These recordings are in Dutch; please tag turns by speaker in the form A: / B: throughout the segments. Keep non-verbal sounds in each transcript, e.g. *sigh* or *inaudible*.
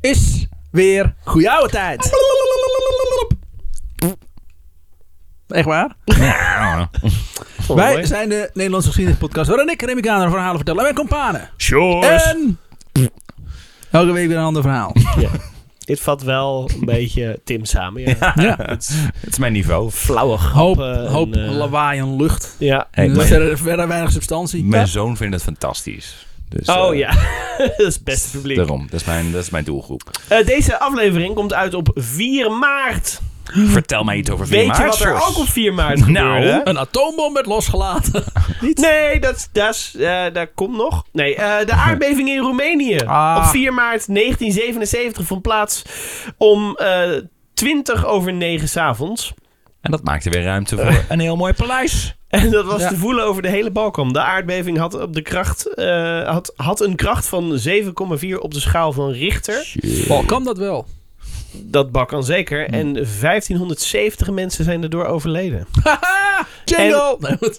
A: is weer goeie oude tijd. Echt waar?
B: Ja,
A: Wij zijn de Nederlandse geschiedenispodcast waarin ik Remy Kaner verhalen vertel en mijn kompanen.
C: Oh,
B: Sjoerd.
A: En elke week weer een ander verhaal.
C: Dit vat wel een *laughs* beetje Tim samen. Ja.
A: Ja.
B: Het is mijn niveau.
C: Flauwe
A: Hoop,
C: grappen. en,
A: hoop
C: eh,
A: lawaai en lucht.
C: ja. eh,
B: Hey,
A: Dus
B: mijn,
A: verder, verder weinig substantie.
B: mijn zoon vindt het fantastisch. Dus,
C: Oh
B: eh,
C: ja, *laughs* dat is het beste publiek.
B: Daarom, dat is mijn, dat is mijn doelgroep.
C: Eh, deze aflevering komt uit op 4 maart.
B: Vertel mij iets over 4
C: Weet
B: maart.
C: je wat er
B: Sjors.
C: ook op 4 maart
B: Nou.
C: gebeurde?
A: Een atoombom werd losgelaten.
C: Nee, dat, dat, is, eh, dat komt nog. Nee,
B: *laughs*
C: eh, de aardbeving in Roemenië.
A: Ah.
C: Op 4 maart 1977 vond plaats om eh 20 over 9 s'avonds.
B: En dat maakte weer ruimte voor een heel mooi paleis.
C: *laughs* En dat was
A: Ja.
C: te voelen over de hele Balkan. De aardbeving had, op de kracht, eh, had, had een kracht van 7,4 op de schaal van Richter.
A: Oh, kan dat wel? *laughs*
C: Dat Balkan zeker. En 1570 mensen zijn erdoor overleden.
A: Haha! Jingle! Nee, goed.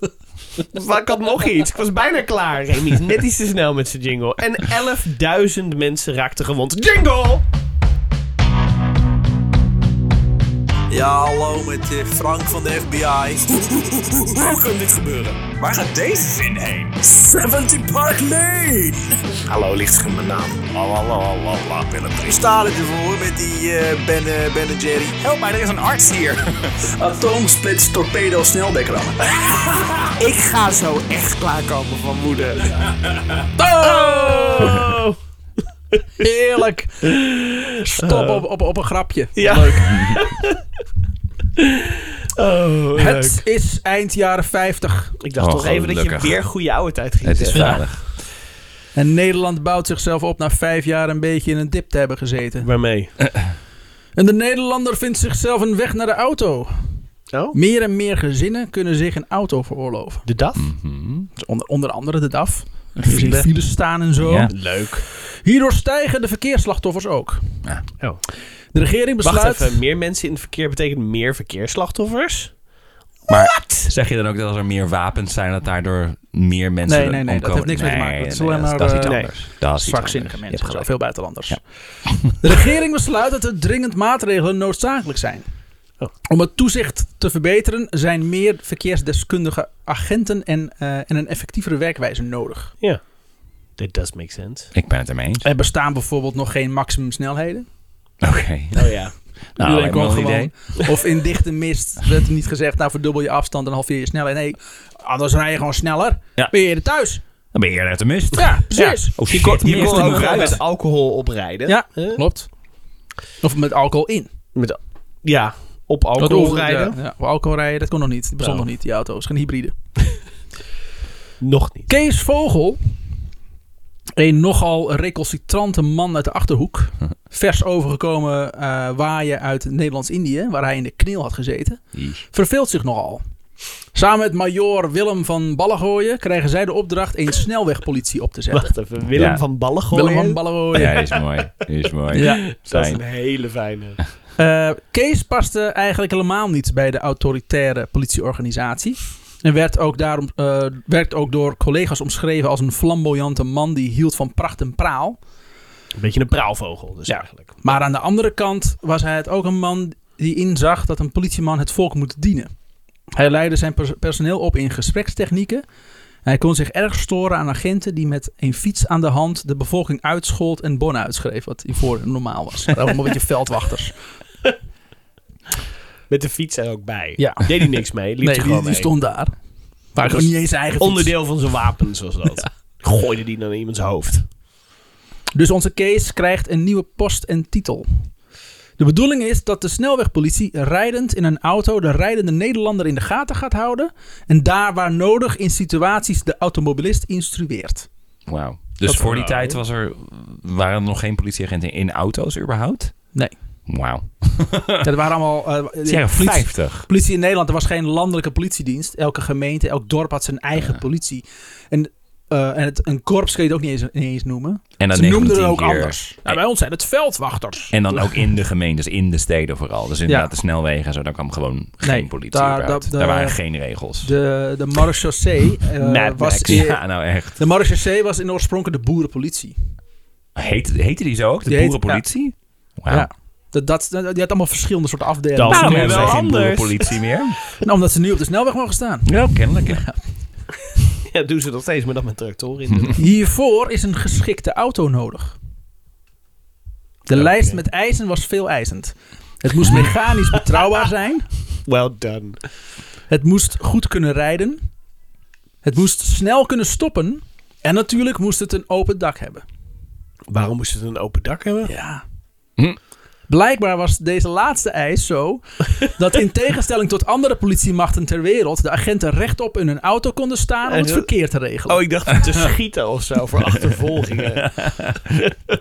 C: Maar ik had nog iets. Ik was bijna klaar, Remy. is Net iets te snel met zijn jingle. En 11.000 mensen raakten gewond. Jingle!
D: Ja, hallo met eh, Frank van de FBI. *laughs* Hoe kan dit gebeuren? Waar gaat deze zin heen? 70 Park Lane! *laughs* Hallo, lichtscherm mijn naam. Ik sta ervoor met die eh, ben, eh, ben en Jerry. Help mij, er is een arts hier. *laughs* Atoomsplits torpedo snelbekrammen. *laughs* Ik ga zo echt klaarkomen van *laughs* moeder.
C: Oh!
A: Heerlijk!
D: Eh.
A: Stop op, op, op een grapje.
C: Ja.
A: Leuk.
C: Oh, leuk.
A: Het is eind jaren 50.
C: Ik dacht
B: Oh,
C: toch even dat je
B: gelukkig.
C: weer goede oude tijd ging
B: Het is
C: zeggen.
B: veilig.
A: En Nederland bouwt zichzelf op na vijf jaar een beetje in een dip te hebben gezeten.
C: Waarmee?
A: En de Nederlander vindt zichzelf een weg naar de auto.
C: Oh?
A: Meer en meer gezinnen kunnen zich een auto veroorloven.
C: De DAF?
B: Mhm.
A: Dus onder, onder andere de DAF. Dus in files staan en zo.
B: Ja.
C: Leuk.
A: Hierdoor stijgen de verkeersslachtoffers ook.
B: Ja.
C: Oh.
A: De regering besluit...
C: Wacht even, meer mensen in het verkeer betekent meer verkeersslachtoffers?
B: Maar zeg je dan ook dat als er meer wapens zijn, dat daardoor meer mensen
A: Nee, nee, nee,
B: omkomen?
A: dat heeft niks mee te maken. Dat is alleen
B: dat,
A: maar,
B: dat is iets
A: eh,
B: anders. Dat is iets
A: Zwakzinnige
B: anders.
A: mensen,
B: Je
A: zo,
B: hebt
A: veel buitenlanders.
B: Ja.
A: De regering besluit dat er dringend maatregelen noodzakelijk zijn.
C: Oh.
A: Om het toezicht te verbeteren zijn meer verkeersdeskundige agenten en, eh, en een effectievere werkwijze nodig.
C: Ja. That does make sense.
B: gelijk. Ik ben het ermee eens.
A: Er bestaan bijvoorbeeld nog geen maximumsnelheden.
B: Oké.
C: Oh ja.
B: Nou,
A: Iedereen
B: helemaal
A: kon
B: een idee.
A: Of in dichte mist werd er niet gezegd, nou verdubbel je afstand en halveer je snelheid. Nee, anders rij je gewoon sneller.
B: Ja.
A: Ben je eerder thuis?
B: Dan ben je eerder uit de mist.
A: Ja, precies.
B: Oh,
C: Je
B: shit,
C: kon,
B: die
C: *laughs* je
B: mist
C: kon
B: er
C: ook
B: nog
C: gewoon
B: uit.
C: met alcohol oprijden.
A: Ja,
C: Hè?
A: klopt. Of met alcohol in.
C: Met, al- ja, op
A: Dat
C: alcohol
A: hoefde-
C: rijden?
A: Ja, ja, of alcohol rijden, dat kon nog niet. Die bestond
C: Oh.
A: nog niet, die auto's. Geen hybride.
C: Nog niet.
A: Kees Vogel, een nogal recalcitrante man uit de Achterhoek, vers overgekomen eh, waaien uit Nederlands-Indië, waar hij in de kneel had gezeten, verveelt zich nogal. Samen met major Willem van Ballengooien krijgen zij de opdracht een snelwegpolitie op te zetten.
C: Wacht even, Willem
B: Ja.
C: van Ballen gooien?
A: Willem van Ballengooien.
B: Ja, die is mooi. Die is mooi.
A: Ja.
C: Dat is een
B: Zijn.
C: hele fijne.
A: Eh, Kees paste eigenlijk helemaal niet bij de autoritaire politieorganisatie. En werd ook, daarom, eh, werd ook door collega's omschreven als een flamboyante man die hield van pracht en praal.
C: Een beetje een praalvogel dus
A: Ja.
C: eigenlijk.
A: Maar aan de andere kant was hij het ook een man die inzag dat een politieman het volk moet dienen. Hij leidde zijn pers- personeel op in gesprekstechnieken. Hij kon zich erg storen aan agenten die met een fiets aan de hand de bevolking uitschold en bonnen uitschreef. Wat hiervoor normaal was. Maar allemaal een beetje veldwachters.
C: Met de fiets er ook bij.
A: Ja.
C: Deed hij niks mee. Liep
A: Nee,
C: er
A: die,
C: gewoon
A: die
C: mee.
A: stond daar. Maar gewoon niet eens zijn eigen fiets.
C: Onderdeel van zijn wapens was *laughs* dat. Gooide die dan in iemands hoofd.
A: Dus onze case krijgt een nieuwe post en titel. De bedoeling is dat de snelwegpolitie rijdend in een auto de rijdende Nederlander in de gaten gaat houden. En daar waar nodig in situaties de automobilist instrueert.
B: Wauw. Dus
C: Dat
B: voor die
C: wel.
B: tijd was er, waren er nog geen politieagenten in auto's überhaupt?
A: Nee.
B: Wauw.
A: Dat waren allemaal. eh,
B: Het is jaren
A: politie,
B: 50.
A: politie in Nederland, er was geen landelijke politiedienst. Elke gemeente, elk dorp had zijn eigen politie. En, eh, en het, een korps kun je het ook niet eens, niet eens noemen.
B: En dan
A: Ze noemden het
B: 19
A: ook
B: keer.
A: anders. Nou, bij ons zijn het veldwachters.
B: En dan ook in de gemeentes, in de steden vooral. Dus inderdaad,
A: Ja.
B: de snelwegen en zo, daar kwam gewoon geen
A: Nee,
B: politie
A: daar-
B: daar,
A: dat-
B: daar waren
A: daar-
B: geen regels.
A: De, de marechaussee eh,
C: Mad
A: was.
C: Max.
A: in-
B: *laughs* ja, nou echt.
A: De marechaussee was in oorspronkelijk de boerenpolitie.
B: Heet, heette die zo ook, de
A: Die heet-
B: boerenpolitie? Wauw.
A: Ja. Dat, dat, dat- je had allemaal verschillende soorten afdelingen.
C: Dat
B: Waarom
C: nu
B: hebben
C: wel
B: wij geen
C: anders.
B: boerenpolitie
A: *laughs*
B: meer?
A: Nou, omdat ze nu op de snelweg mogen staan.
B: Ja, kennelijk. ja.
C: *laughs* Ja, doen ze nog steeds, maar dan met tractoren *laughs* in.
A: Hiervoor is een geschikte auto nodig. De
B: Oké.
A: lijst met eisen was veel eisend. Het moest mechanisch betrouwbaar zijn.
C: well done.
A: Het moest goed kunnen rijden. Het moest snel kunnen stoppen. En natuurlijk moest het een open dak hebben.
C: Waarom moest het een open dak hebben?
A: Ja.
B: Hm.
A: Blijkbaar was deze laatste eis zo dat in tegenstelling tot andere politiemachten ter wereld de agenten rechtop in hun auto konden staan om het verkeer te regelen.
C: Oh, ik dacht om te schieten of zo voor *laughs* achtervolgingen.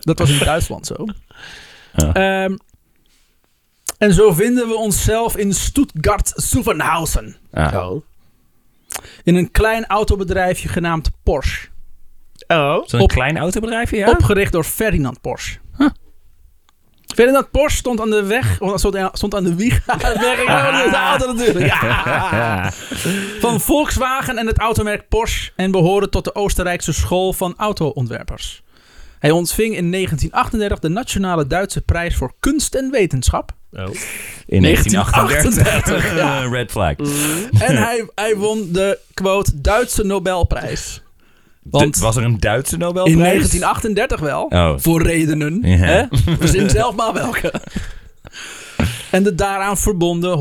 A: Dat was in Duitsland zo.
B: Ja.
A: Ehm, en zo vinden we onszelf in Stuttgart-Zuffenhausen.
B: Ah.
C: Oh.
A: In een klein autobedrijfje genaamd Porsche.
C: Oh.
B: Zo'n
A: Op-
B: klein autobedrijf, ja?
A: Opgericht door Ferdinand Porsche. Ferdinand Porsche stond aan de weg, oh, stond aan- stond aan de wieg. *laughs* de auto natuurlijk.
B: Ja.
A: Van Volkswagen en het automerk Porsche en behoorde tot de Oostenrijkse school van autoontwerpers. Hij ontving in 1938 de Nationale Duitse Prijs voor Kunst en Wetenschap.
B: In 1938.
A: 1938, ja.
B: Eh, Red flag.
A: Mm. En hij, hij won de, quote, Duitse Nobelprijs. Want
B: De- was er een Duitse Nobelprijs?
A: in 1938 wel,
B: Oh.
A: voor redenen.
B: Ja.
A: Hè? Verzin zelf maar welke. En de daaraan verbonden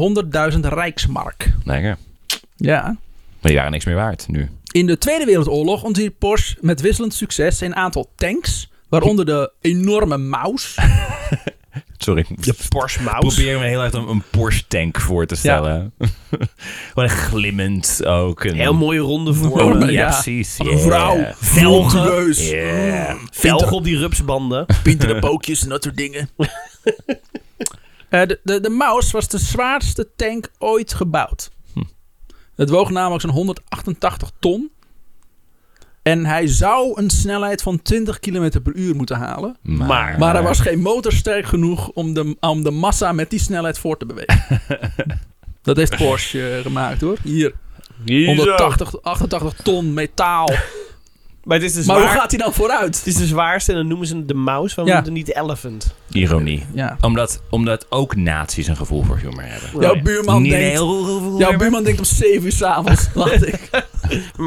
A: 100.000 Rijksmark.
B: Lekker.
A: Ja.
B: Maar die waren niks meer waard nu.
A: In de Tweede Wereldoorlog ontwierp Porsche met wisselend succes een aantal tanks. Waaronder de enorme Maus.
B: Sorry.
C: De Porsche Mouse.
B: Probeer me heel erg een, een Porsche tank voor te stellen. *laughs* Wat een glimmend ook. Een
C: Heel mooie ronde eh,
B: Oh,
C: vormen.
B: ja,
A: Ja.
B: precies.
A: Een
B: Yeah.
A: vrouw. Volgeus.
B: Yeah.
C: Velg op die
A: *laughs*
C: rupsbanden.
A: Pinten de pookjes en dat soort
B: *laughs*
A: dingen. Eh, de, de, de Maus was de zwaarste tank ooit gebouwd.
B: Hm.
A: Het woog namelijk zo'n 188 ton. En hij zou een snelheid van 20 km per uur moeten halen.
B: Maar,
A: Maar er was geen motor sterk genoeg om de, om de massa met die snelheid voor te bewegen. Dat heeft Porsche eh, gemaakt hoor. Hier, 180, 88 ton metaal.
C: Maar dit is de
A: Maar hoe
C: zwaar.
A: gaat hij dan vooruit?
C: Het is de zwaarste en dan noemen ze het de mouse, waarom
A: Ja.
C: noemen ze het niet de elephant?
B: eh, Ironie.
A: Ja.
B: Omdat, omdat ook nazi's een gevoel voor humor hebben.
A: Jouw buurman
B: Niet
A: denkt...
B: heel gevoel
A: Jouw
B: hebben.
A: buurman denkt om 7 uur s'avonds. Laat ik,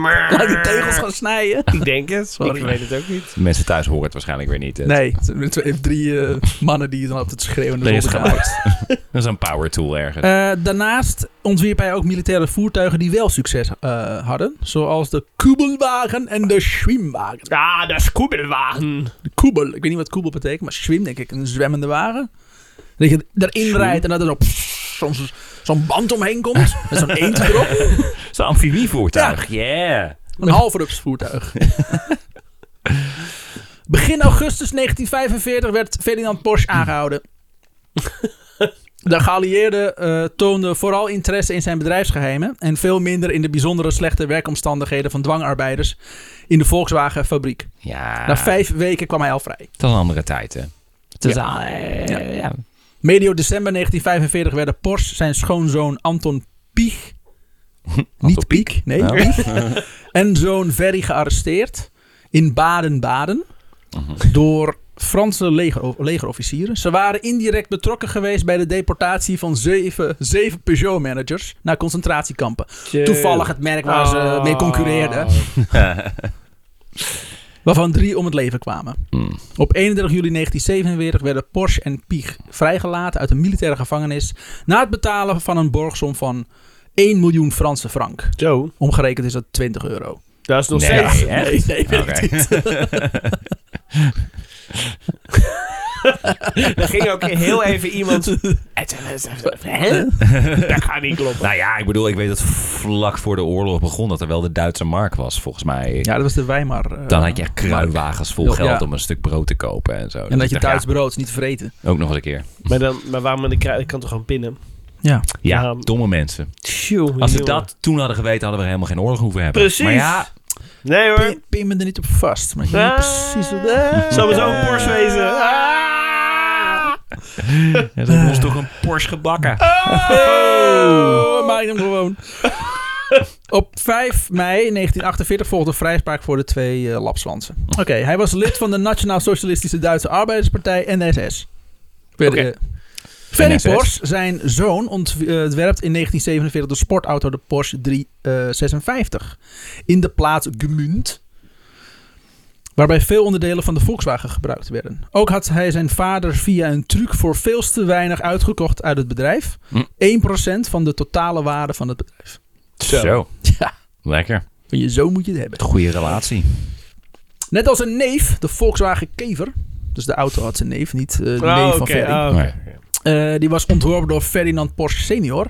A: laat ik de tegels gaan snijden.
C: Ik denk het,
A: Sorry.
C: ik weet het ook niet.
B: De mensen thuis horen het waarschijnlijk weer niet. Het-
A: Nee, het zijn twee, drie eh, mannen die dan op het schreeuwen
B: Nee,
A: de
B: is
A: zolderkamer.
B: Dat is een power tool ergens.
A: Eh, daarnaast ontwierp hij ook militaire voertuigen die wel succes eh, hadden. Zoals de Kubelwagen en de Schwimmwagen.
C: Ah, de scoobelwagen.
A: De Kubel, ik weet niet wat Kubel betekent, maar Schwim denk ik, een zwemmende wagen. Dat je erin rijdt en dat er zo pff, soms zo'n band omheen komt. Met zo'n eend erop.
B: Zo'n amfibievoertuig. Yeah.
A: Een halfrupsvoertuig. Begin augustus 1945 werd Ferdinand Porsche aangehouden. De geallieerden eh, toonden vooral interesse in zijn bedrijfsgeheimen en veel minder in de bijzondere slechte werkomstandigheden van dwangarbeiders in de Volkswagen-fabriek.
B: Ja.
A: Na vijf weken kwam hij al vrij.
B: Dat is een andere tijd, hè. Het is
A: Ja.
B: al- eh,
A: Ja.
B: ja.
A: Medio december 1945 werden Porsche zijn schoonzoon Anton Piech, niet Piek, nee,
B: Ja.
A: Piech, en zoon Verry gearresteerd in Baden-Baden door Franse leger, legerofficieren. Ze waren indirect betrokken geweest bij de deportatie van zeven, zeven Peugeot-managers naar concentratiekampen. Toevallig het merk waar ze
C: Ah.
A: mee concurreerden, waarvan drie om het leven kwamen.
B: Mm.
A: Op 31 juli 1947 werden Porsche en Piech vrijgelaten uit een militaire gevangenis. na het betalen van een borgsom van 1 miljoen Franse frank.
C: Zo,
A: Omgerekend is dat 20 euro.
C: dat is nog
B: Nee,
C: *laughs* steeds.
B: echt?
A: Nee, nee, weet *laughs*
B: Oké.
A: ik niet.
C: Daar ging ook heel even
A: *laughs*
C: iemand. Hè? Dat gaat niet kloppen.
B: Nou ja, ik bedoel, ik weet dat vlak voor de oorlog begon dat er wel de Duitse mark was, volgens mij.
A: Ja, dat was de Weimar. eh,
B: Dan had je echt kruiwagens vol
A: Ja.
B: geld om een stuk brood te kopen en zo.
A: En
B: Dus
A: dat je
B: ik dacht,
A: Duits brood is niet vreten.
B: ja, ook nog eens een keer.
C: Maar, dan, maar waarom in de kruid? Ik kan toch gewoon pinnen?
A: Ja.
B: Ja,
C: Ja.
B: domme mensen.
C: Tjoe,
B: Als ze
C: jongen.
B: dat toen hadden geweten, hadden we helemaal geen oorlog hoeven hebben.
C: Precies.
B: Maar ja,
C: Nee hoor.
A: Pin, pin me er niet op vast. Maar ik weet niet precies wat dat
C: Zou we zo een Porsche wezen? Ah!
B: ze hebben ons toch een Porsche gebakken.
A: Oh, maak hem gewoon. Op 5 mei 1948 volgde vrijspraak voor de twee eh, lapswansen. Oké, hij was lid van de Nationaal Socialistische Duitse Arbeiderspartij, NSS. Verder,
C: Oké.
A: eh, Ferry
B: NSS.
A: Porsche, zijn zoon, eh, ontwerpt in 1947 de sportauto de Porsche 356. In de plaats Gmunt. Waarbij veel onderdelen van de Volkswagen gebruikt werden. Ook had hij zijn vader via een truc voor veel te weinig uitgekocht uit het bedrijf.
B: Hm.
A: 1% van de totale waarde van het bedrijf. *laughs*
B: Zo.
A: Ja,
B: Lekker.
A: van je zoon moet je het hebben.
B: Goede relatie.
A: Net als een neef, de Volkswagen Kever. Dus de auto had zijn neef, niet eh, de
C: Oh,
A: neef van
C: oké,
A: Ferry.
C: oh, oké.
A: Eh, die was ontworpen door Ferdinand Porsche senior.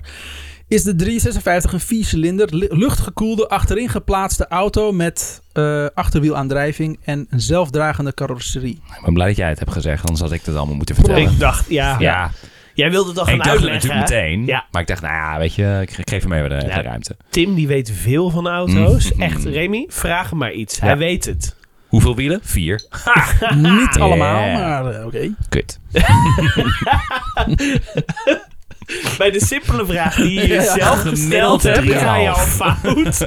A: Is de 356 een viercilinder, lu- luchtgekoelde, achterin geplaatste auto met eh, achterwielaandrijving en een zelfdragende carrosserie.
B: Ik ben blij dat jij het hebt gezegd, anders had ik dat allemaal moeten vertellen.
C: Ik dacht, ja.
B: ja,
C: Jij wilde het al
B: ik
C: gaan
B: dacht het
C: uitleggen.
B: natuurlijk
C: hè?
B: meteen.
C: Ja.
B: Maar ik dacht, nou ja, weet je, ik ge- geef hem even de,
C: Ja.
B: de ruimte.
C: Tim, die weet veel van auto's.
B: Mm.
C: Echt, Remy, vraag hem maar iets. Hij weet het.
B: Hoeveel wielen? Vier.
A: Niet allemaal,
B: Ja.
A: maar eh, oké.
B: Kut.
C: Bij de simpele vraag die
B: *laughs*
C: je jezelf
B: Gemiddeld
C: gesteld hebt, ga je al
B: 3,5. *laughs*
C: fout.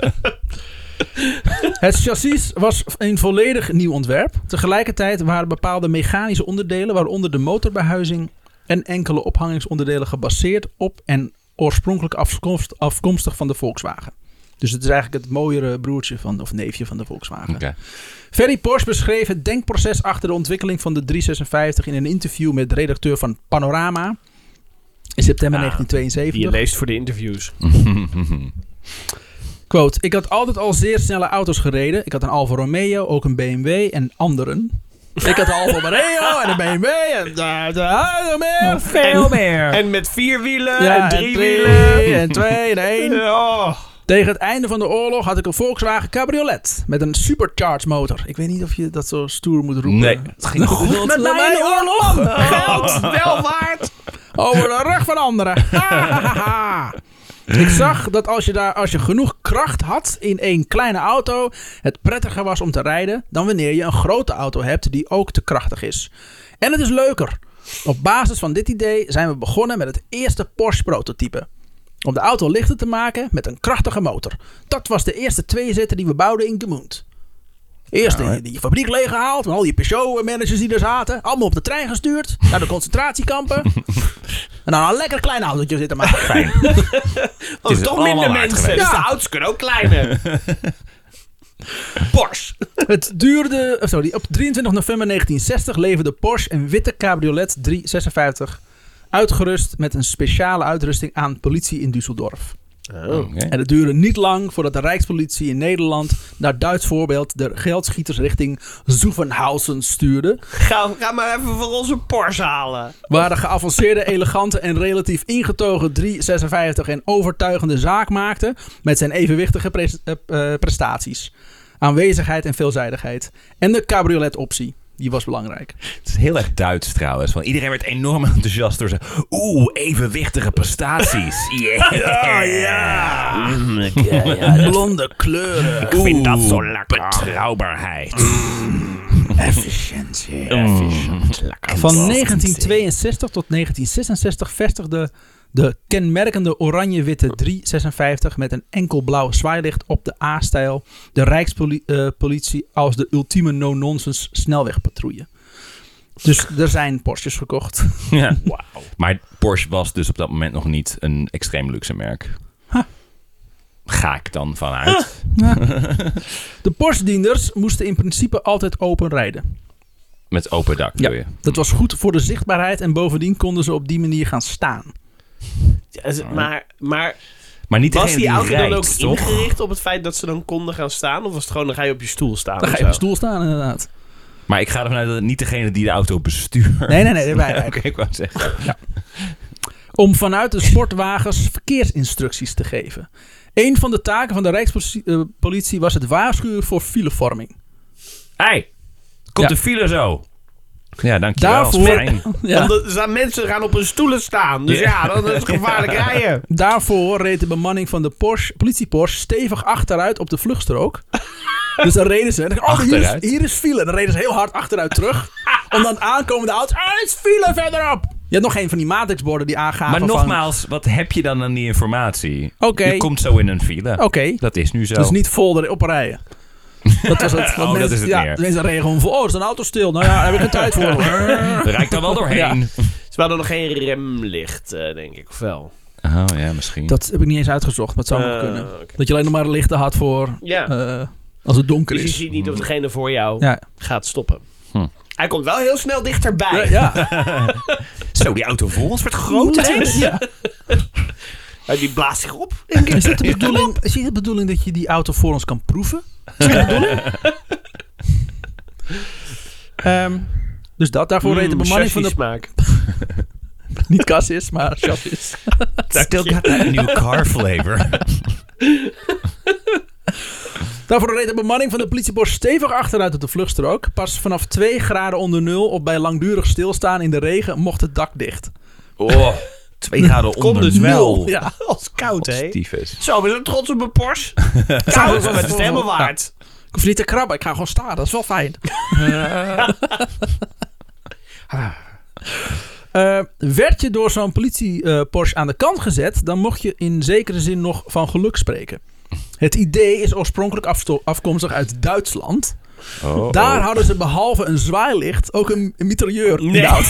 A: Het chassis was een volledig nieuw ontwerp. Tegelijkertijd waren bepaalde mechanische onderdelen, waaronder de motorbehuizing en enkele ophangingsonderdelen, gebaseerd op en oorspronkelijk afkomst- afkomstig van de Volkswagen. Dus het is eigenlijk het mooiere broertje van, of neefje van de Volkswagen.
B: *laughs* Oké.
A: Ferry Porsche beschreef het denkproces achter de ontwikkeling van de 356 in een interview met redacteur van Panorama in september
C: Ah, Je
A: 1972.
C: leest voor de interviews.
A: Quote, ik had altijd al zeer snelle auto's gereden. Ik had een Alfa Romeo, ook een BMW en anderen. Ik had een Alfa
C: *laughs*
A: Romeo en een BMW en de, de Alfa Romeo.
B: Veel meer.
C: En met vier wielen
A: Ja,
C: en drie
A: en
C: wielen.
A: en twee en één.
C: Oh.
A: Tegen het einde van de oorlog had ik een Volkswagen Cabriolet met een supercharged motor. Ik weet niet of je dat zo stoer moet roepen.
B: Nee, het ging goed
A: Goed met
B: met
A: mijn
B: mijn
A: oorlog. Oh.
C: Geld, wel waard.
A: Over de rug van
C: *laughs*
A: anderen. *laughs* Hahaha. Ik zag dat als je, daar, als je genoeg kracht had in één kleine auto, het prettiger was om te rijden dan wanneer je een grote auto hebt die ook te krachtig is. En het is leuker. Op basis van dit idee zijn we begonnen met het eerste Porsche prototype. Om de auto lichter te maken met een krachtige motor. Dat was de eerste tweezitter die we bouwden in Gemund. Eerst die- die fabriek leeggehaald, met al die Peugeot-managers die er zaten. Allemaal op de trein gestuurd, naar de *laughs* concentratiekampen. En dan een lekker klein autootje zitten maken.
C: Dat is
B: is
C: oh, toch
B: allemaal
C: minder
B: waard
C: mensen.
B: geweest.
C: Dus de auto's kunnen ook kleiner.
B: *laughs*
C: Porsche.
A: *laughs* Het duurde... oh, Sorry, op 23 november 1960 leverde Porsche een witte cabriolet 356... uitgerust met een speciale uitrusting aan politie in Düsseldorf.
B: Oké.
A: En het duurde niet lang voordat de Rijkspolitie in Nederland... naar Duits voorbeeld de geldschieters richting Zuffenhausen stuurde...
C: Ga, ga maar even voor onze Porsche halen.
A: Waar de geavanceerde, elegante en relatief ingetogen 356 een overtuigende zaak maakte met zijn evenwichtige pres- eh, eh, prestaties. Aanwezigheid en veelzijdigheid. En de cabriolet-optie, die was belangrijk.
B: Het is heel erg Duits trouwens. Want iedereen werd enorm *laughs* enthousiast door zijn... Oeh, evenwichtige prestaties. Yeah. ja.
A: Blonde kleuren.
B: Ik vind dat zo Mm.
C: lekker.
B: Betrouwbaarheid.
A: Efficiëntie.
B: Mm.
A: Van 1962 tot 1966 vestigde de kenmerkende oranje-witte 356 met een enkel blauw zwaailicht op de A-stijl de Rijkspolitie als de ultieme no-nonsense snelwegpatrouille. Dus er zijn Porsches gekocht.
B: Ja. Maar Porsche was dus op dat moment nog niet een extreem luxe merk.
A: Huh.
B: Ga ik dan vanuit.
A: De Porsche-dienders moesten in principe altijd open rijden.
B: Met open dak
A: Ja.
B: doe je.
A: Dat was goed voor de zichtbaarheid en bovendien konden ze op die manier gaan staan.
C: Ja, is- maar, maar
B: Maar niet
C: was
B: degene
C: die auto
B: rijdt,
C: dan ook
B: toch?
C: ingericht op het feit dat ze dan konden gaan staan? Of was het gewoon, dan ga je op je stoel staan?
A: Dan ga
C: of
A: je op
C: zo?
A: de stoel staan inderdaad.
B: Maar ik ga ervan uit dat het niet degene die de auto bestuurt.
A: Nee, nee, nee. Wij,
B: *laughs* Oké, ik wou zeggen.
A: om vanuit de sportwagens verkeersinstructies te geven. Een van de taken van de Rijkspolitie eh, politie was het waarschuwen voor filevorming.
B: Hey, komt
A: Ja.
B: de file zo. Ja, dankjewel.
A: Daarvoor-
B: Fijn.
A: *laughs* Ja.
C: Omdat ze- mensen gaan op hun stoelen staan. Dus ja,
A: *laughs*
C: dan is het gevaarlijk rijden.
A: Daarvoor reed de bemanning van de Porsche, politie Porsche stevig achteruit op de
B: *laughs*
A: vluchtstrook. Dus dan reden ze. en dachten, Oh, hier,
B: Achteruit?
A: is, hier is file. Dan reden ze heel hard achteruit terug. Om dan aankomende auto's. Ah, er is file verderop. Je had nog een van die matrixborden die aangaven
B: Maar
A: van-
B: nogmaals, wat heb je dan aan die informatie?
A: Oké.
B: Je komt zo in een file.
A: Oké,
B: Dat is nu zo.
A: dus niet vol erop rijden. Dat
B: *laughs*
A: was het. Want
B: Oh, dat
A: mensen,
B: is het
A: ja,
B: meer. *laughs*
A: mensen reden gewoon voor. Oh, er is een auto stil. Nou ja, daar heb ik geen tijd voor.
B: Rijd daar wel doorheen.
C: Ze hadden nog geen remlicht, eh, denk ik. Of wel?
B: Oh ja, misschien.
A: Dat heb ik niet eens uitgezocht, maar het zou nog
C: Eh,
A: kunnen.
C: oké.
A: Dat je alleen nog maar lichten had voor
C: Ja.
A: eh, als het donker
C: dus je
A: is.
C: ziet niet of degene voor jou
A: Ja,
C: gaat stoppen.
B: Hm.
C: Hij komt wel heel snel dichterbij.
A: ja, ja.
B: Zo, die auto voor ons werd groot. hè?
A: Ja.
C: Eh, Die blaast zich op.
A: Is dit de bedoeling, is dit de bedoeling dat je die auto voor ons kan proeven? Is
B: *laughs*
A: dat de bedoeling? Ehm, dus dat,
B: Hmm,
A: daarvoor reed de bemanning van de...
C: Hmm, smaak.
A: *laughs* Niet kas is, maar chassis.
B: Still got that new Eh, car flavor.
A: Daarvoor reed de bemanning van de politiebos stevig achteruit op de vluchtstrook. Pas vanaf 2 graden onder nul of bij langdurig stilstaan in de regen mocht het dak dicht.
B: *laughs* Oh, twee graden
C: Kon
B: onder
C: dus wel.
B: nul.
A: Ja.
C: Als koud, hè?
B: Tyfus.
C: Zo, we zijn trots op mijn
A: *laughs*
C: Porsche. Koud, maar het is helemaal waard. *laughs*
A: Ik hoef niet te krabben, ik ga gewoon staan. Dat is wel fijn.
C: Ah.
A: Eh, werd je door zo'n politie-Porsche aan de kant gezet, dan mocht je in zekere zin nog van geluk spreken. Het idee is oorspronkelijk afsto- afkomstig uit Duitsland.
B: Oh,
A: Daar
B: oh.
A: hadden ze behalve een zwaailicht ook een, een mitrailleur.
C: Nee.
A: Nou,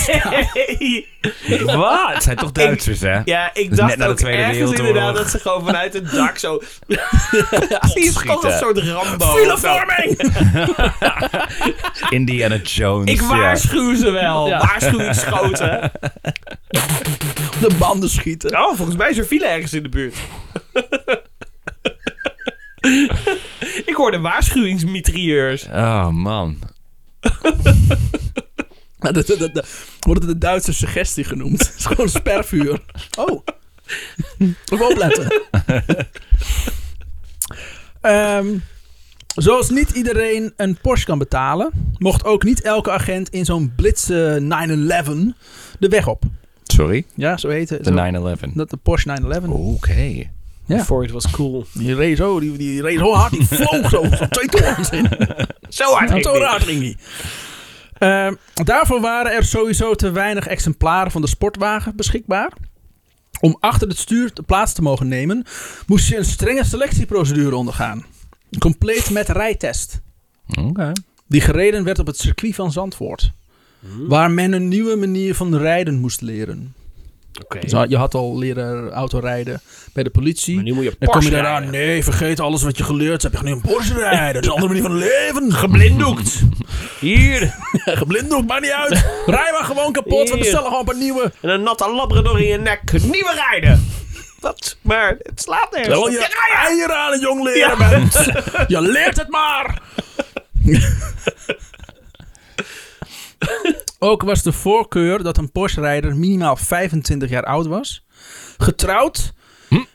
C: *laughs*
B: Wat? Het zijn toch Duitsers, hè?
C: Ja, ik
B: Dus
C: dacht
B: net na de
C: ook
B: Tweede
C: ergens
B: Wereldoorlog.
C: inderdaad dat ze gewoon vanuit het dak zo... Die is gewoon
B: schieten.
C: een soort Rambo. of zo.
A: Filevorming!
B: Indiana Jones.
C: Ik
B: ja.
C: waarschuw ze wel. Waarschuwend schoten.
A: *laughs* De banden schieten.
C: Oh, volgens mij is er file ergens in de
A: *laughs*
C: buurt. ik hoorde waarschuwingsmitrieurs.
B: Oh, man.
A: Nou, dat, dat, dat- dat wordt de Duitse suggestie genoemd. *laughs* Het is gewoon spervuur. Oh. Even opletten. Ehm, zoals niet iedereen een Porsche kan betalen, mocht ook niet elke agent in zo'n blitse 911 de weg op.
B: Sorry?
A: Ja, zo heet het.
B: De
A: Zo-
B: 911.
A: Dat de Porsche 911.
B: Oké.
A: Ja.
C: Before it was cool.
A: Die reed zo, die, die reed zo hard, die vloog zo, zo twee torens in.
C: Zo hard ging
A: Zo
C: die.
A: raar ging die. Ehm, daarvoor waren er sowieso te weinig exemplaren van de sportwagen beschikbaar. Om achter het stuur te plaats te mogen nemen, moest je een strenge selectieprocedure ondergaan. Compleet met rijtest.
B: Oké.
A: Die gereden werd op het circuit van Zandvoort.
C: Hmm.
A: Waar men een nieuwe manier van rijden moest leren.
C: Oké.
A: Dus je had al leren autorijden bij de politie.
C: Maar nu moet je
A: Dan kom je
C: Porsche
A: daar aan.
C: rijden.
A: Nee, vergeet alles wat je geleerd hebt. Je gaat nu een Porsche rijden. Dat is een andere
C: *laughs*
A: manier van leven.
C: Geblinddoekt. Hier.
A: Geblinddoek, maakt niet *laughs* uit. Rij maar gewoon kapot. We
C: Hier.
A: bestellen gewoon een paar nieuwe.
C: En een natte labrador in je nek. Nieuwe rijden. Wat? Maar het slaat nergens.
A: Terwijl
C: op. Ja,
A: Oh, je eieren aan het jong leren *laughs*
C: Ja.
A: bent. Je leert het maar. *laughs* Ook was de voorkeur dat een Porsche-rijder minimaal 25 jaar oud was. Getrouwd.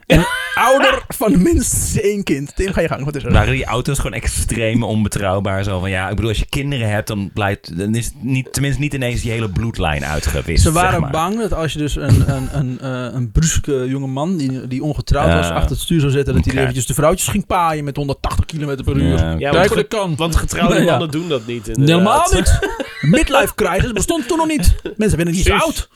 A: En ouder van minstens één kind. Tim, ga je gang. Wat is er?
B: Waren die auto's gewoon extreem onbetrouwbaar? Zo van, ja, ik bedoel, als je kinderen hebt, dan, blijft, dan is het niet, tenminste niet ineens die hele bloedlijn uitgewist.
A: Ze waren
B: zeg maar.
A: bang dat als je dus een, een, een, eh, een bruske jongeman die, die ongetrouwd was
B: Ja.
A: achter het stuur zou zetten, dat hij
B: Oké.
A: eventjes de vrouwtjes ging paaien met 180 km per uur.
B: Ja,
C: Ja,
B: oké.
A: Kijk
C: want
A: wat ik kan.
C: Want getrouwde
A: Ja.
C: mannen doen dat niet. Inderdaad.
A: Helemaal niet. *laughs* Midlife crisis bestond toen nog niet. Mensen werden niet zo
C: Precies.
A: oud.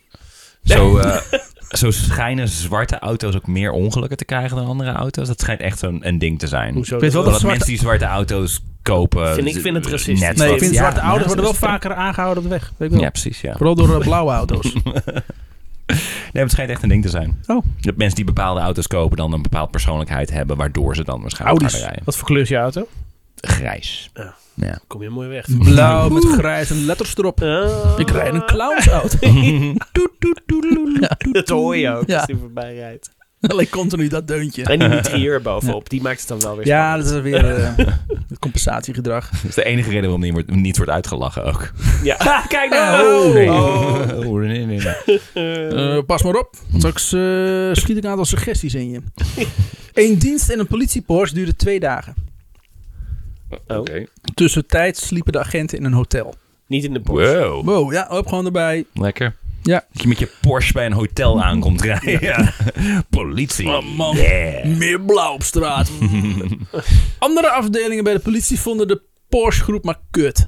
B: Zo, eh, *laughs* zo schijnen zwarte auto's ook meer ongelukken te krijgen dan andere auto's. Dat schijnt echt zo'n een ding te zijn.
C: Hoezo?
A: Ik weet wel
B: Dat
A: dat zwarte-
B: mensen die zwarte auto's kopen...
C: Vind ik- vind het
B: eh,
C: racistisch.
B: net
A: Nee,
B: wat-
A: ik vind
B: ja,
A: zwarte ouders
B: ja,
A: worden wel
B: dat is-
A: vaker aangehouden op de weg. Weet ik wel.
B: Ja, precies, ja.
A: Vooral door eh, blauwe
B: *laughs*
A: auto's.
B: Nee, het schijnt echt een ding te zijn.
A: Oh.
B: Dat mensen die bepaalde auto's kopen dan een bepaald persoonlijkheid hebben, waardoor ze dan waarschijnlijk
A: Audi's.
B: harder rijden.
C: Wat voor kleur is je auto?
B: Grijs.
C: Ja.
B: Ja.
C: Kom je mooi weg.
A: Blauw met grijs en letters erop.
C: Ah.
A: Ik rijd een
B: *laughs*
A: clownsauto. Toet, toet, toedeloeloe.
C: Dat hoor je ook
A: Ja.
C: als die voorbij rijdt.
A: Alleen continu dat deuntje.
C: En die
A: *laughs*
C: mitrieur bovenop, die maakt het dan wel weer
A: Ja, dat is weer eh, het compensatiegedrag.
B: Dat is de enige reden waarom niet wordt, niet wordt uitgelachen ook.
C: spannend. Ja.
A: *laughs*
C: Ha, kijk nou!
A: Oh, nee.
B: Oh, nee, nee, nee.
A: Eh, pas maar op, want straks eh, schiet ik een aantal suggesties in *laughs* je. Een dienst en een politiepoors duurde twee dagen.
C: Oh.
B: Oké.
A: Tussentijds sliepen de agenten in een hotel.
C: Niet in de bos.
B: Wow.
A: Wow, ja, op gewoon erbij.
B: Lekker.
A: Ja.
B: Dat je met je Porsche bij een hotel aankomt rijden. Ja. Politie.
A: Oh, man.
B: Yeah.
A: Meer blauw op straat. Andere afdelingen bij de politie vonden de Porsche-groep maar kut.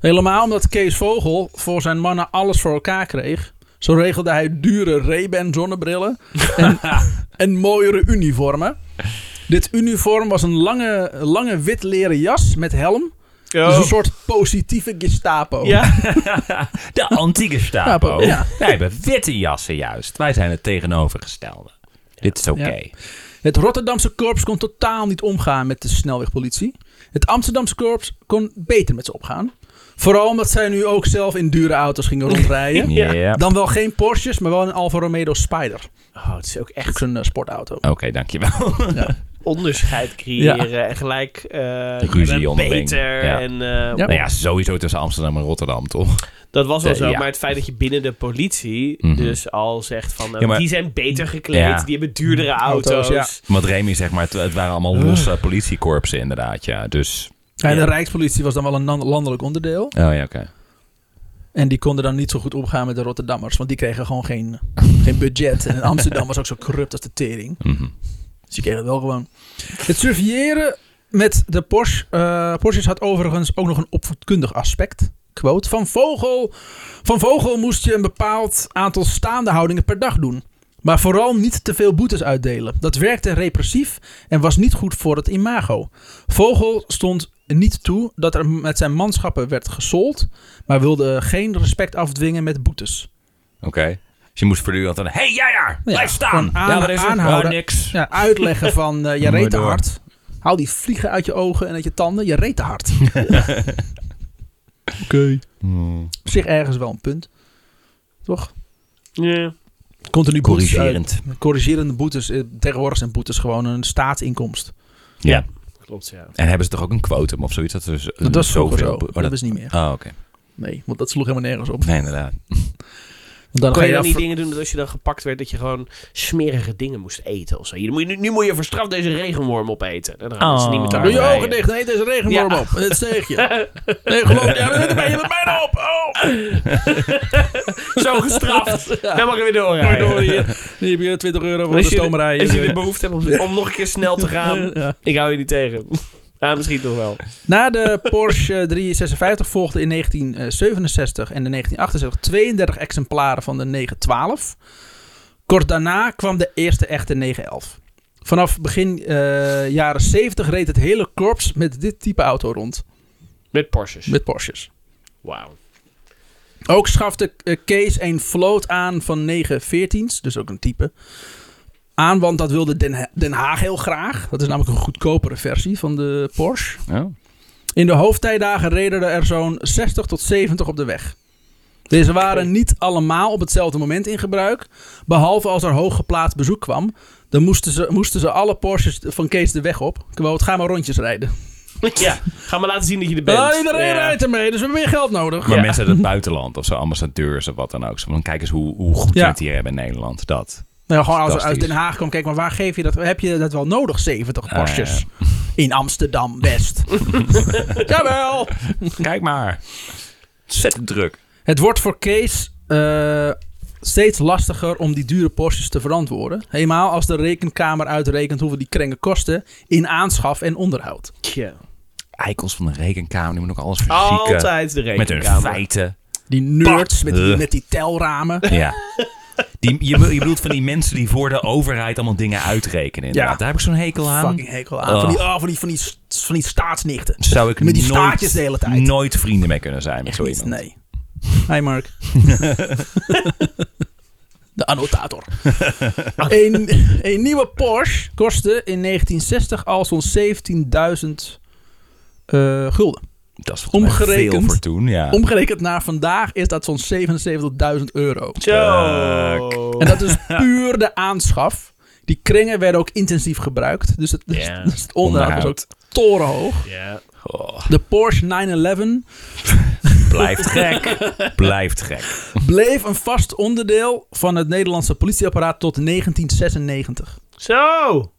A: Helemaal omdat Kees Vogel voor zijn mannen alles voor elkaar kreeg. Zo regelde hij dure Ray-Ban zonnebrillen en, en mooiere uniformen. Dit uniform was een lange, lange wit leren jas met helm Dus een soort positieve Gestapo.
C: Oh. Ja,
B: De antieke stapo.
A: Stapo, ja.
B: Wij hebben witte jassen juist. Wij zijn het tegenovergestelde. Dit is oké.
A: Het Rotterdamse korps kon totaal niet omgaan met de snelwegpolitie. Het Amsterdamse korps kon beter met ze opgaan. Vooral omdat zij nu ook zelf in dure auto's gingen rondrijden.
B: *laughs* Ja.
A: Dan wel geen Porsches, maar wel een Alfa Romeo Spider.
C: oh, het is ook echt
A: Echt zo'n eh, sportauto.
B: Oké, dankjewel.
C: onderscheid creëren en gelijk eh
B: Ruzie
C: je bent
B: onderling.
C: beter.
B: Ja.
C: En, eh,
A: Ja.
B: Nou ja, sowieso tussen Amsterdam en Rotterdam, toch?
C: Dat was wel
B: Eh,
C: zo,
B: ja.
C: maar het feit dat je binnen de politie
B: Mhm.
C: dus al zegt van eh,
B: Ja, maar-
C: die zijn beter gekleed,
B: Ja.
C: die hebben duurdere auto's.
A: Mhm. Auto's, ja.
B: Want Remy zegt maar, het, het waren allemaal
A: Ah.
B: losse politiekorpsen inderdaad, ja. Dus,
A: Ja, de Rijkspolitie was dan wel een nan- landelijk onderdeel.
B: oh ja, oké.
A: En die konden dan niet zo goed omgaan met de Rotterdammers. Want die kregen gewoon geen, geen budget. En Amsterdam was ook zo corrupt als de tering.
B: Mhm.
A: Dus die kregen het wel gewoon. Het surveilleren met de Porsche, eh, Porsches had overigens ook nog een opvoedkundig aspect. Quote. Van Vogel, van Vogel moest je een bepaald aantal staande houdingen per dag doen. Maar vooral niet te veel boetes uitdelen. Dat werkte repressief en was niet goed voor het imago. Vogel stond niet toe dat er met zijn manschappen werd gesold. Maar wilde geen respect afdwingen met boetes.
B: Oké. Dus je moest voortdurend dan... hey, jij daar!
A: Ja,
B: Blijf staan!
A: gewoon aan-
B: ja, wat is er?
A: aanhouden.
B: Oh, niks.
A: Ja, uitleggen van eh, je
B: Mooi
A: reet te
B: door.
A: hard. Haal die vliegen uit je ogen en uit je tanden. Je reet te hard.
B: Oké.
A: Op zich ergens wel een punt. Toch?
C: Ja.
A: Continu boetes
B: Corrigerend.
A: uit- corrigerende boetes. eh, Tegenwoordig zijn boetes gewoon een staatsinkomst.
B: Ja.
C: Klopt, ja.
B: En hebben ze toch ook een quotum of zoiets? Dat, is
A: Dat was vroeger zo.
B: Oh,
A: Dat,
B: dat-
A: is niet meer.
B: Oh, oké.
A: Nee, want dat sloeg helemaal nergens op.
B: Nee, inderdaad.
A: Want dan ga
C: Kon je
A: je
C: dan
A: af...
C: niet dingen doen dat als je dan gepakt werd, dat je gewoon smerige dingen moest eten of zo. Je moet, nu, nu moet je voor straf deze regenworm opeten. En dan gaan ze
B: Oh.
C: niet meer te
A: Doe
C: hard
A: je
B: Nee.
A: ogen dicht. Nee, deze regenworm
C: Ja.
A: op. Het steeg je. Nee, geloof me. Ja, dan zit er bij je met bijna op. Oh.
C: Zo gestraft. Dan mag je weer
A: Mooi door
C: doorrijden.
A: hier. Hier heb je 20 euro voor
C: Als
A: de
C: je de-
A: stoomrij.
C: Als je de behoefte hebt om, om nog een keer snel te gaan,
A: Ja.
C: ik hou je niet tegen. Ja, misschien toch wel.
A: Na de Porsche *laughs* 356 volgden in 1967 en in 1968 32 exemplaren van de 912. Kort daarna kwam de eerste echte 911. Vanaf begin eh, jaren 70 reed het hele korps met dit type auto rond.
C: Met Porsches.
A: Met Porsches.
C: Wauw.
A: Ook schafte eh, Kees een vloot aan van 914's, dus ook een type. Aan, want dat wilde Den, Ha- Den Haag heel graag. Dat is namelijk een goedkopere versie van de Porsche.
B: Oh.
A: In de hoofdtijdagen reden er zo'n 60 tot 70 op de weg. Deze waren niet allemaal op hetzelfde moment in gebruik, behalve als er hooggeplaatst bezoek kwam. Dan moesten ze, moesten ze alle Porsches van Kees de weg op. Quote, ga maar rondjes rijden.
C: Ja, ga maar laten zien dat je er bent.
A: Ja, iedereen
C: Ja.
A: rijdt ermee, dus we hebben meer geld nodig.
B: Maar
C: Ja.
B: mensen uit het buitenland of zo, ambassadeurs of wat dan ook. Zo, Dan kijk eens hoe, hoe goed we
A: Ja.
B: het hier hebben in Nederland. Dat.
A: Nou, gewoon als er uit
B: Fantastisch.
A: Den Haag kwam, kijk maar waar geef je dat? Heb je dat wel nodig, 70
B: Ah,
A: Porsches? In Amsterdam
C: *laughs*
A: West. Jawel!
B: Kijk maar. Ontzettend druk.
A: Het wordt voor Kees eh, steeds lastiger om die dure Porsches te verantwoorden. Helemaal als de rekenkamer uitrekent hoeveel die krengen kosten in aanschaf en onderhoud.
C: Ja.
B: Eikels van de rekenkamer, die moeten ook alles verzieken.
C: Altijd de
B: Met hun
C: rekenkamer.
B: feiten.
A: Die nerds
B: Bah.
A: met die,
B: Ugh.
A: met die telramen.
B: Ja. Die, je, be- je bedoelt van die mensen die voor de overheid allemaal dingen uitrekenen. Inderdaad.
A: Ja.
B: Daar heb ik zo'n hekel aan.
A: Fucking hekel aan. Van, die, oh, van, die, van, die, s- van die staatsnichten.
B: Zou ik
A: Met die staartjes
B: nooit,
A: de hele tijd.
B: nooit vrienden mee kunnen zijn met
A: Echt
B: zo
A: niet,
B: iemand.
A: nee. Hi Mark. De annotator. een, een nieuwe Porsche kostte in 1960 al zo'n 17.000 eh, gulden.
B: Dat is volgens mij veel
A: Omgerekend.
B: voor toen. Ja.
A: Omgerekend naar vandaag is dat zo'n 77.000 euro.
B: Eh,
C: Zo.
A: En dat
B: *laughs*
A: is puur de aanschaf. Die kringen werden ook intensief gebruikt. Dus het,
C: Ja.
A: dus het onderhoud was ook
B: Onderhoud.
A: torenhoog.
C: Ja.
B: Oh,
A: De Porsche
B: *laughs*
A: 911
B: blijft gek.
A: *laughs*
B: blijft gek.
A: bleef een vast onderdeel van het Nederlandse politieapparaat tot 1996.
C: Zo.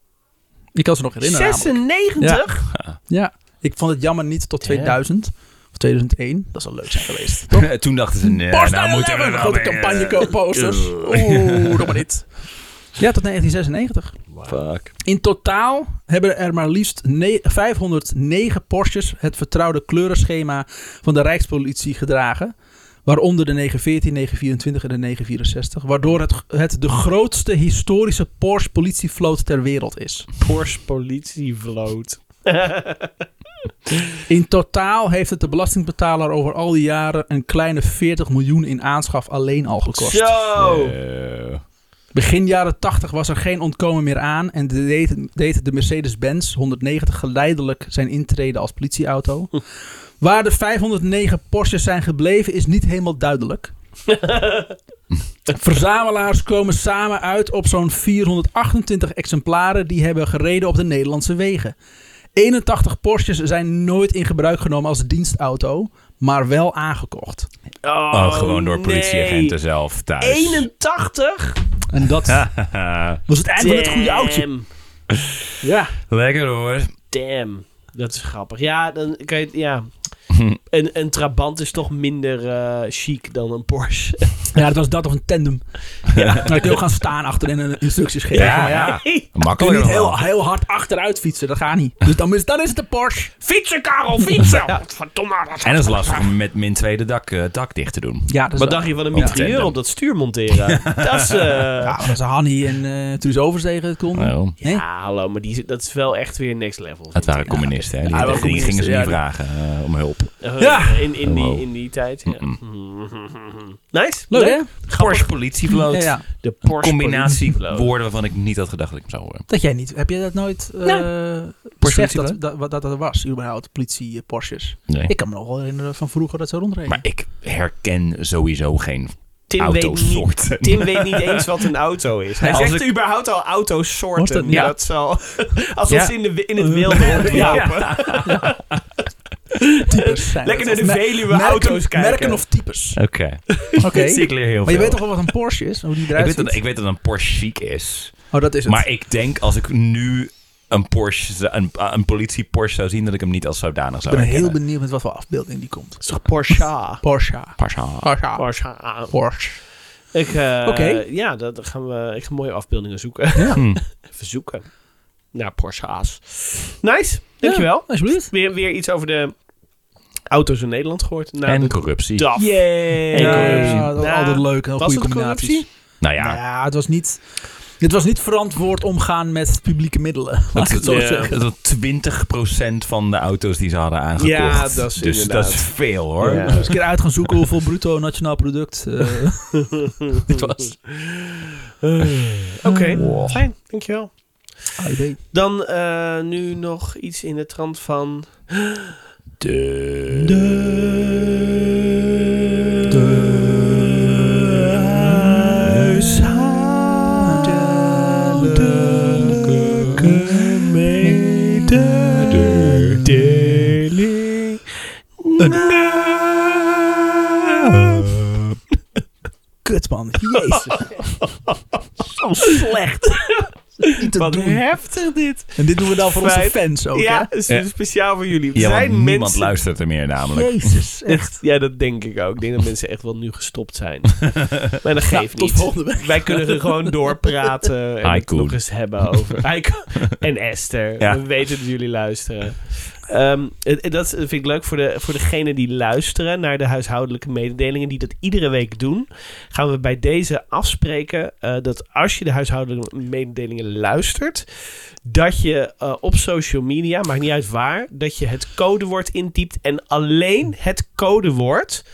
A: Ik kan ze nog herinneren. namelijk.
C: 96?
A: Ja. Ik vond het jammer niet tot
C: Ja.
A: 2000 of 2001. Dat zou leuk zijn geweest.
B: *laughs* Toen dachten ze, nee,
A: Porsche
B: nou moeten we
A: 911,
B: er
A: grote
B: nou mee, eh,
A: campagneposters. Oeh, doe maar dit. Ja, tot 1996.
B: Fuck.
A: In totaal hebben er maar liefst ne- 509 Porsches het vertrouwde kleurenschema van de Rijkspolitie gedragen. Waaronder de 914, 924 en de 964. Waardoor het, het de grootste historische Porsche politievloot ter wereld is.
C: Porsche politievloot.
A: In totaal heeft het de belastingbetaler over al die jaren een kleine 40 miljoen in aanschaf alleen al gekost. Oh.
C: Zo!
B: Eh,
A: Begin jaren 80 was er geen ontkomen meer aan en deed, deed de Mercedes-Benz 190 geleidelijk zijn intrede als politieauto. Waar de 509 Porsches zijn gebleven is niet helemaal duidelijk. Verzamelaars komen samen uit op zo'n 428 exemplaren die hebben gereden op de Nederlandse wegen. 81 Porsches zijn nooit in gebruik genomen als dienstauto, maar wel aangekocht.
C: Oh,
B: oh, gewoon door
C: nee.
B: politieagenten zelf thuis.
C: 81?
A: En dat was het einde van het goede oudje.
C: Damn.
A: Ja.
B: *laughs* Lekker hoor.
C: Damn. Dat is grappig. Ja, dan kan je...
A: *laughs*
C: Ja. Een, een Trabant is toch minder eh, chic dan een Porsche. *laughs*
A: Ja, dat was dat of een tandem. Ja. Dan kun je ook gaan staan achter en eh, instructies geven.
B: Ja,
A: Maar ja,
B: ja.
A: Kun je niet
B: Makkelijker dan
A: heel,
B: wel.
A: heel hard achteruit fietsen, dat gaat niet. Dus dan is, dan is het een Porsche.
C: Fietsen, Karel, fietsen! Verdomme, dat
B: En het is lastig om met min 2 de dak, eh, dak dicht te doen.
A: Ja, dat is
C: Wat dacht je van een
B: Op
C: mitrailleur
B: tandem.
C: op dat stuur monteren? Dat is... eh,
A: *laughs* Ja, dat is Hanny en eh Truus Overstegen het konden.
B: Nou,
A: Hè?
C: ja, Ah, hallo, maar die, dat is wel echt weer next level.
B: het waren communisten, hè? Die,
A: Ja, wel
B: die gingen ze
A: communisten, ja.
B: niet vragen eh, om hulp.
C: Eh,
A: Ja.
C: In, in, die,
B: Hallo.
C: in die tijd. Ja. *laughs* Nice.
A: Leuk, hè?
B: Porsche politievloot.
A: Ja, ja.
C: De Porsche
B: Combinatie
C: politievloot.
B: woorden waarvan ik niet had gedacht dat ik hem zou horen.
A: Dat jij niet. Heb je dat nooit eh beseft
B: politieauto?
A: dat, dat, wat dat er was, überhaupt, politie eh, Porsches?
B: Nee.
A: Ik kan me nog wel herinneren van vroeger dat ze rondreden.
B: Maar ik herken sowieso geen
C: Tim weet,
B: *laughs*
C: niet,
B: autosoorten.
C: Tim weet niet eens wat een
A: *laughs*
C: auto is. Hij
B: Als
C: zegt
B: ik-
C: überhaupt al
A: Was dat
C: autosoorten.
A: niet?
C: Ja.
A: Ja.
C: Dat zal, *laughs* alsof
B: Ja.
C: ze in, de, wi- in
A: *laughs*
C: het wilde rondlopen. *laughs*
A: types zijn
C: Lekker
A: dat.
C: naar de
A: Of mer-
C: Veluwe
A: merken-
C: auto's kijken.
A: Merken of types.
B: Oké.
A: Oké.
C: *laughs*
B: Zie Ik leer heel
A: Maar je
B: veel.
A: weet toch wel wat een Porsche is? Hoe die
B: ik,
A: eruit
B: weet
A: ziet?
B: dat, ik weet dat een Porsche chic is.
A: Oh, dat is het.
B: Maar ik denk als ik nu een Porsche, zou- een, eh, een politie Porsche zou zien, dat ik hem niet als zodanig
A: ik
B: zou
A: ben heel
B: herkennen.
A: benieuwd met wat voor afbeelding die komt.
C: is toch Porsche?
A: Porsche.
B: Porsche.
A: Porsche. ah.
C: Porsche.
A: Porsche.
C: Ik, eh,
A: Oké.
C: Ja, dat dat gaan we, ik ga mooie afbeeldingen zoeken. *laughs*
A: Ja.
B: Hm.
C: Even zoeken. Naar Porsche A's. Nice. Dankjewel.
A: alsjeblieft.
C: Weer, weer iets over de auto's in Nederland gehoord. Nou,
B: En
C: de
B: corruptie.
C: DAF.
A: Yay.
C: En
A: Ja,
C: corruptie.
A: dat was
C: Ja.
A: altijd leuk. Heel
C: Was
A: goede
C: het
A: combinaties.
C: corruptie?
B: Nou
A: Ja.
B: ja,
A: het was niet... Het was niet verantwoord omgaan met publieke middelen. Laat ik het zo
C: Ja.
A: zeggen.
B: dat was 20% van de auto's die ze hadden aangekocht.
C: Ja, dat is
B: dus
C: inderdaad.
B: dat is veel hoor.
C: Ja.
A: Eens
B: *laughs*
A: een keer uit gaan zoeken hoeveel bruto nationaal product eh, dit was.
C: Oké,
B: Wow.
C: fijn. Dankjewel.
A: AIB.
C: Dan eh, nu nog iets in de trant van...
B: De...
A: Kut man, jezus.
C: Zo slecht.
A: Niet te
C: Wat
A: doen.
C: heftig dit.
A: En dit doen we dan voor
C: Feit.
A: onze fans ook,
C: ja,
A: hè?
C: is
B: Ja.
C: speciaal voor jullie. Er
B: Ja, want
C: zijn
B: niemand
C: mensen...
B: luistert er meer namelijk.
A: Jezus, echt.
C: Echt, ja, dat denk ik ook. Ik denk dat mensen echt wel nu gestopt
B: *laughs*
C: zijn. Maar dat
A: Nou,
C: geeft
A: tot
C: niet.
A: volgende week.
C: Wij kunnen er gewoon doorpraten en het
B: Haiku.
C: nog eens hebben
B: *laughs*
C: over Haiku en Esther.
B: Ja.
C: We weten dat jullie luisteren. Ehm, het- het- dat vind ik leuk voor, de, voor degenen die luisteren naar de huishoudelijke mededelingen, die dat iedere week doen. Gaan we bij deze afspreken eh, dat als je de huishoudelijke mededelingen luistert, dat je eh, op social media, maakt niet uit waar, dat je het codewoord intypt en alleen het codewoord.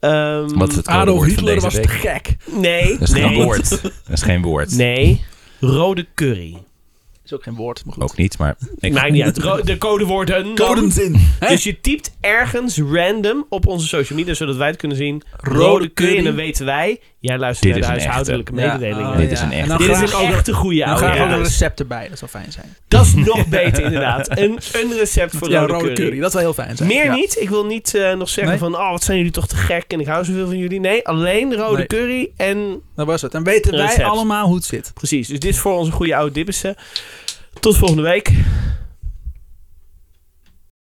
C: ehm,
B: Wat is het
A: Adolf
B: codewoord van
A: Hitler
B: deze
A: was
B: week?
A: te gek.
C: Nee,
B: Dat is geen
C: nee.
B: woord. Dat is geen woord.
C: Nee, rode curry.
A: Is ook geen woord, maar goed.
B: Ook niet, maar... Ik,
C: Maakt niet uit. Ro- de codewoorden. dan.
A: Codenzin. Hè?
C: Dus je typt ergens random op onze social media, zodat wij het kunnen zien. Rode, curry. En dan weten wij, jij luistert
B: Dit
C: naar de
B: is een
C: huishoudelijke
A: echte.
C: mededelingen.
A: Ja,
B: dit
A: oh,
B: is een
A: ja.
B: echt.
A: En dan
C: Dit is
A: graag
C: een
A: ook-
C: echte goede
A: Dan
C: oude.
A: graag ook
C: Ja.
A: een recept erbij. Dat zou fijn zijn.
C: Dat is nog
A: *laughs*
C: beter inderdaad. Een, een recept voor
A: ja,
C: rode,
A: rode curry. Dat zou heel fijn zijn.
C: Meer
A: Ja.
C: niet. Ik wil niet eh, nog zeggen
A: Nee.
C: van, oh wat zijn jullie toch te gek en ik hou zoveel van jullie. Nee, alleen rode
A: Nee.
C: curry en
A: Dat was het. Dan weten wij
C: Recept.
A: allemaal hoe het zit.
C: precies. Dus dit is voor onze goede oude dibbissen. Tot volgende week.